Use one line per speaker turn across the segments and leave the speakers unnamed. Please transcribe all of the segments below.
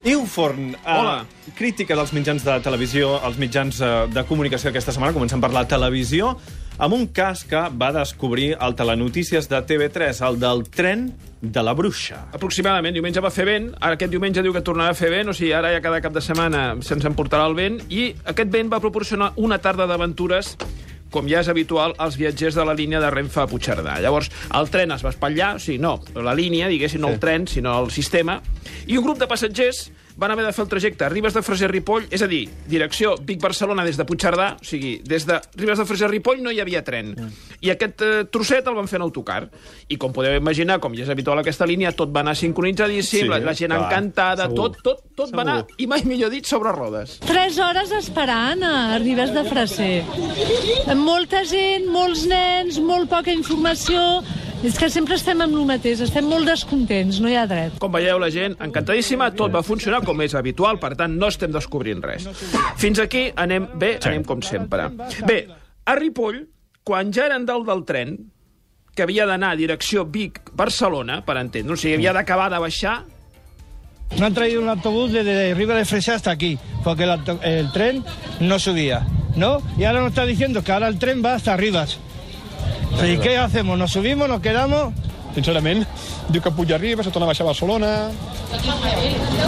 Andreu Forn,
Hola.
eh, crítica dels mitjans de televisió, els mitjans eh, de comunicació aquesta setmana, comencem per la televisió, amb un cas que va descobrir el Telenotícies de TV3, el del tren de la bruixa.
Aproximadament, diumenge va fer vent, ara aquest diumenge diu que tornarà a fer vent, o sigui, ara ja cada cap de setmana se'ns emportarà el vent, i aquest vent va proporcionar una tarda d'aventures com ja és habitual als viatgers de la línia de Renfe a Puigcerdà. Llavors, el tren es va espatllar, o sigui, no, la línia, diguéssim, no el tren, sinó el sistema, i un grup de passatgers van haver de fer el trajecte a Ribes de Freser Ripoll, és a dir, direcció Vic-Barcelona des de Puigcerdà, o sigui, des de Ribes de Freser Ripoll no hi havia tren.
Mm.
I aquest eh, trosset el van fer en autocar. I com podeu imaginar, com ja és habitual aquesta línia, tot va anar sincronitzadíssim,
Sí,
sí, la, la gent
clar,
encantada,
segur.
tot, tot, tot va anar,
Segur.
i mai millor dit, sobre rodes.
Tres hores esperant a Ribes de Freser. Molta gent, molts nens, molt poca informació... És que sempre estem amb el mateix, estem molt descontents, no hi ha dret.
Com veieu, la gent encantadíssima, tot va funcionar com és habitual, per tant, no estem descobrint res. Fins aquí anem bé, anem com sempre. Bé, a Ripoll, quan ja eren dalt del tren, que havia d'anar a direcció Vic-Barcelona, per entendre'ns, o sigui, havia d'acabar de baixar,
No han traído un autobús desde Riva de Fresa hasta aquí, porque el, auto- el tren no subía, ¿no? Y ahora nos está diciendo que ahora el tren va hasta Rivas. ¿Y qué hacemos? ¿Nos subimos? ¿Nos quedamos?
Sincerament, diu que puja arriba, se torna a baixar a Barcelona...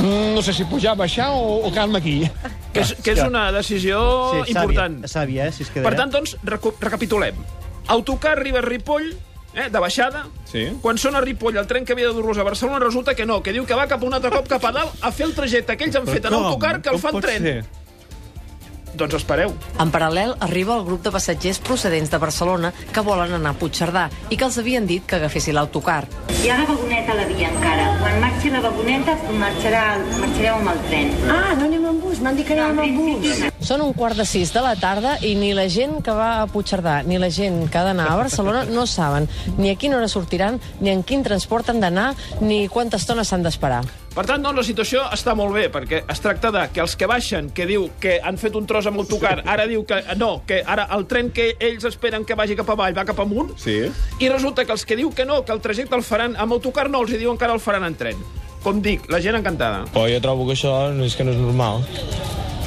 Mm, No sé si pujar, baixar o, o quedar-me aquí.
que és, que és una decisió
Oh,
Sí,
important.
Sàvia, sàvia, eh, si es queda...
Per tant, doncs, recu- recapitulem. Autocar arriba a Ripoll, eh, de baixada.
Sí.
Quan són a Ripoll, el tren que havia de dur-los a Barcelona resulta que no, que diu que va cap un altre cop cap a dalt a fer el trajecte que ells han fet en autocar, que el fan tren. Doncs espereu.
En paral·lel, arriba el grup de passatgers procedents de Barcelona que volen anar a Puigcerdà i que els havien dit que agafessin l'autocar.
Hi ha la vagoneta a la via encara. Quan marxi la vagoneta, marxarà, marxareu amb el tren.
Ah, no anem amb bus, m'han dit que anàvem amb bus.
Són un quart de sis de la tarda i ni la gent que va a Puigcerdà ni la gent que ha d'anar a Barcelona no saben ni a quina hora sortiran, ni en quin transport han d'anar, ni quanta estona s'han d'esperar.
Per tant, doncs, la situació està molt bé, perquè es tracta de que els que baixen, que diu que han fet un tros amb autocar, ara diu que no, que ara el tren que ells esperen que vagi cap avall va cap amunt,
Sí.
i resulta que els que diu que no, que el trajecte el faran amb autocar, no, els hi diuen que ara el faran en tren. Com dic, la gent encantada.
Però jo trobo que això no és que no és normal.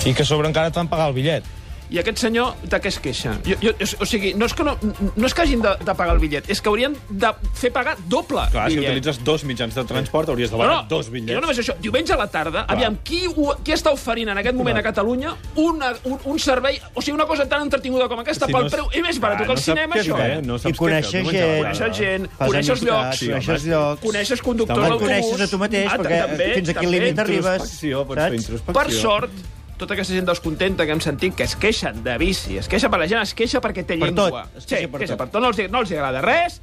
I que a sobre encara et van pagar el bitllet.
I aquest senyor de què es queixa? Jo, jo, o sigui, no és que, no, no és que hagin de, de pagar el bitllet, és que haurien de fer pagar doble
Clar, si
bitllet.
utilitzes dos mitjans de transport hauries de pagar dos bitllets.
i No només això, diumenge a la tarda, Clar. aviam, qui, ho- qui està oferint en aquest moment a Catalunya una, un, un servei, o sigui, una cosa tan entretinguda com aquesta, si pel preu, és més barat
Clar,
que
no
el
saps
cinema,
què
això.
fer,
eh?
No
I
saps
conèixer
què fer, el diumenge a la
gent.
tarda.
Coneixes gent,
Fas
coneixes
amistats,
llocs,
sí,
coneixes
home.
llocs.
coneixes conductors
Et
d'autobús...
coneixes a tu mateix,
Ah,
perquè
també,
fins a quin
també.
límit arribes,
Introspecció, pots fer
saps?
introspecció.
Per sort, tota aquesta gent descontenta que hem sentit, que es queixen de bici, es queixa per la gent, es queixa perquè té
Per
llengua.
tot, es
sí,
queixa per
queixa
tot.
per tot. No els, no els hi agrada res,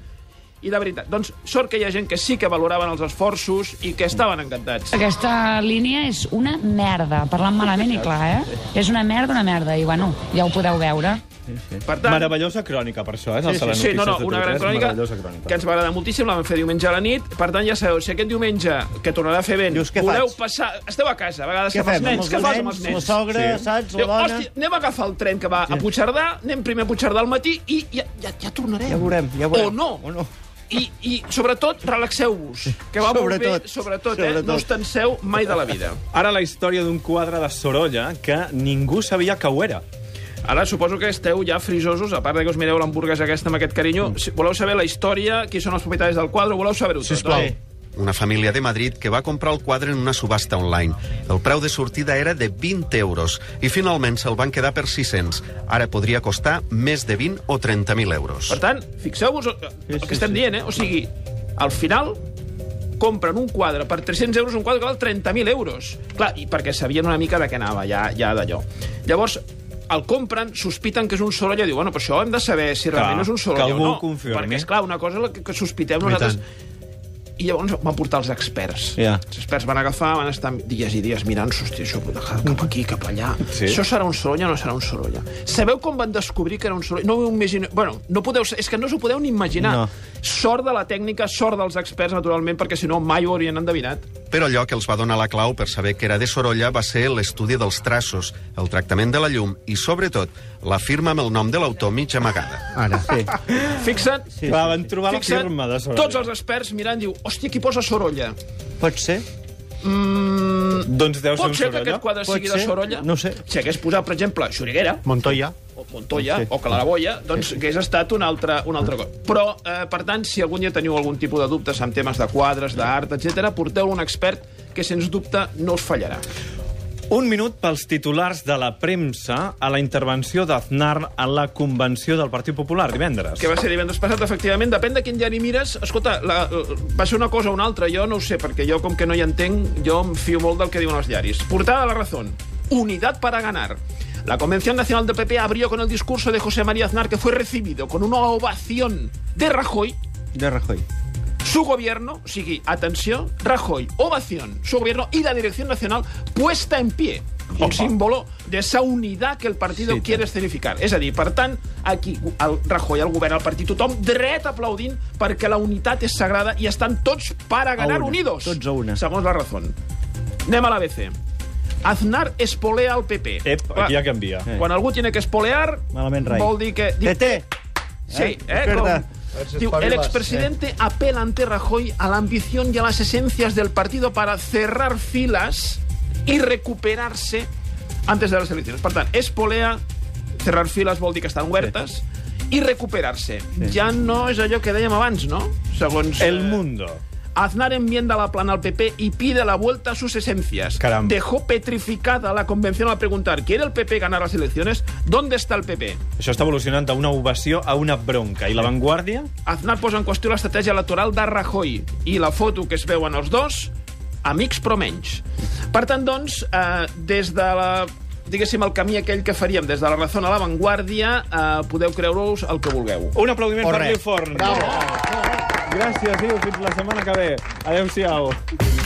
i de veritat, doncs sort que hi ha gent que sí que valoraven els esforços i que estaven encantats.
Aquesta línia és una merda, parlant malament i clar, eh? És una merda, una merda, i bueno, ja ho podeu veure.
Per tant,
Meravellosa crònica, per això, eh? Sí,
Sí, sí, no, no, una gran crònica,
Meravellosa crònica.
que ens va agradar moltíssim, la vam fer diumenge a la nit. Per tant, ja sabeu, si aquest diumenge, que tornarà a fer vent,
Dius, què
voleu
faig?
passar... Esteu a casa, a vegades
Què
amb els
fem?
nens. Què fas amb els
La
nens?
sogra,
Sí.
saps?
Diu,
La dona...
hòstia, anem a agafar el tren que va a Puigcerdà, anem primer a Puigcerdà al matí i ja, ja, ja tornarem.
Ja veurem, ja veurem.
O no.
O no.
I, i sobretot, relaxeu-vos, que va molt bé,
Sobretot.
sobretot, eh?
Sobretot.
No us tenseu mai de la vida.
Ara la història d'un quadre de Sorolla que ningú sabia que ho era.
Ara suposo que esteu ja frisosos, a part de que us mireu l'hamburguesa aquesta amb aquest carinyo. Si voleu saber la història, qui són els propietaris del quadre, voleu saber-ho tot.
Sisplau.
oi?
Una família de Madrid que va comprar el quadre en una subhasta online. El preu de sortida era de 20 euros i finalment se'l van quedar per 600. Ara podria costar més de 20 o 30.000 euros.
Per tant, fixeu-vos el, el que estem dient, eh? O sigui, al final compren un quadre per 300 euros, un quadre que val 30.000 euros. Clar, i perquè sabien una mica de què anava, ja, ja d'allò. Llavors, el compren, sospiten que és un soroll i diu, bueno, però això hem de saber si
Clar,
realment és un soroll
que algú
o no.
ho confirmi.
Perquè, esclar, una cosa és la que, que sospitem
I
nosaltres...
tant.
I llavors van portar els experts.
Ja.
Els experts van agafar, van estar dies i dies mirant, hòstia, això ho he deixat cap aquí, cap allà.
Sí.
Això serà un soroll o no serà un soroll? Sabeu com van descobrir que era un soroll? No ho imagino... Bueno, no podeu... És que no us ho podeu ni imaginar.
No.
Sort de la tècnica, sort dels experts, naturalment, perquè si no mai ho haurien endevinat.
Però allò que els va donar la clau per saber que era de Sorolla va ser l'estudi dels traços, el tractament de la llum i, sobretot, la firma amb el nom de l'autor mig amagada.
Ara, sí.
Fixa't, sí,
Clar, van trobar la
fixa't,
firma de Sorolla.
tots els experts mirant, diu, hòstia, qui posa sorolla?
Pot ser?
Mm,
Doncs deu ser
pot
un
ser que
Sorolla?
aquest quadre
Pot
sigui de
ser.
Sorolla?
No sé.
Si hagués posat, per exemple, Xuriguera,
Montoya.
o Montoya, o Claraboia, doncs hagués estat un altre, un altre cop. Però, eh, per tant, si algun dia teniu algun tipus de dubtes en temes de quadres, d'art, etc, porteu un expert que, sens dubte, no us fallarà.
Un minut pels titulars de la premsa a la intervenció d'Aznar en la convenció del Partit Popular divendres.
Que va ser divendres passat, efectivament. Depèn de quin diari mires. Escolta, la, la- va ser una cosa o una altra, jo no ho sé, perquè jo, com que no hi entenc, jo em fio molt del que diuen els diaris. Portada de la Razón. Unidad para ganar. La Convención Nacional del PP abrió con el discurso de José María Aznar, que fue recibido con una ovación de Rajoy,
De Rajoy.
Su gobierno, sigui, atención, Rajoy, ovación, su gobierno y la dirección nacional puesta en pie. Un símbolo d'esa unidad que el partido sí, quiere escenificar. És a dir, per tant, aquí el Rajoy, el govern, el partit, tothom dret aplaudint perquè la unitat és sagrada i estan tots per a ganar
una,
unidos.
tots a una.
Segons la razón. Anem a l'ABC. Aznar espolea al PP.
Ep, aquí ja canvia.
Eh. Quan algú tiene que espolear,
Malament rai.
vol dir que...
Tete!
Sí, eh,
Desperta.
com...
A ver si
Diu,
espabilas,
el expresidente
¿eh?
apela ante Rajoy a la ambición y a las esencias del partido para cerrar filas y recuperarse antes de las elecciones. Per tant, es polea, cerrar files vol dir que estan obertes, i recuperar-se. Ja no és allò que dèiem abans, no? Segons...
El
eh,
Mundo.
Aznar enmienda la plana al PP y pide la vuelta a sus esencias.
Caramba.
Dejó petrificada la convención al preguntar, ¿quiere el PP ganar las elecciones? ¿Dónde está el PP?
Això està evolucionant d'una ovació a una bronca. I la Vanguardia?
Aznar posa en qüestió l'estratègia electoral de Rajoy i la foto que es veuen els dos, amics però menys. Per tant, doncs, eh, des de la diguéssim, el camí aquell que faríem des de la Razón a la Vanguardia, eh, podeu creure-us el que vulgueu.
Un aplaudiment
O
per
res.
Liu Forn. Bravo. Gràcies, Iu. Fins la setmana que ve. Adéu-siau.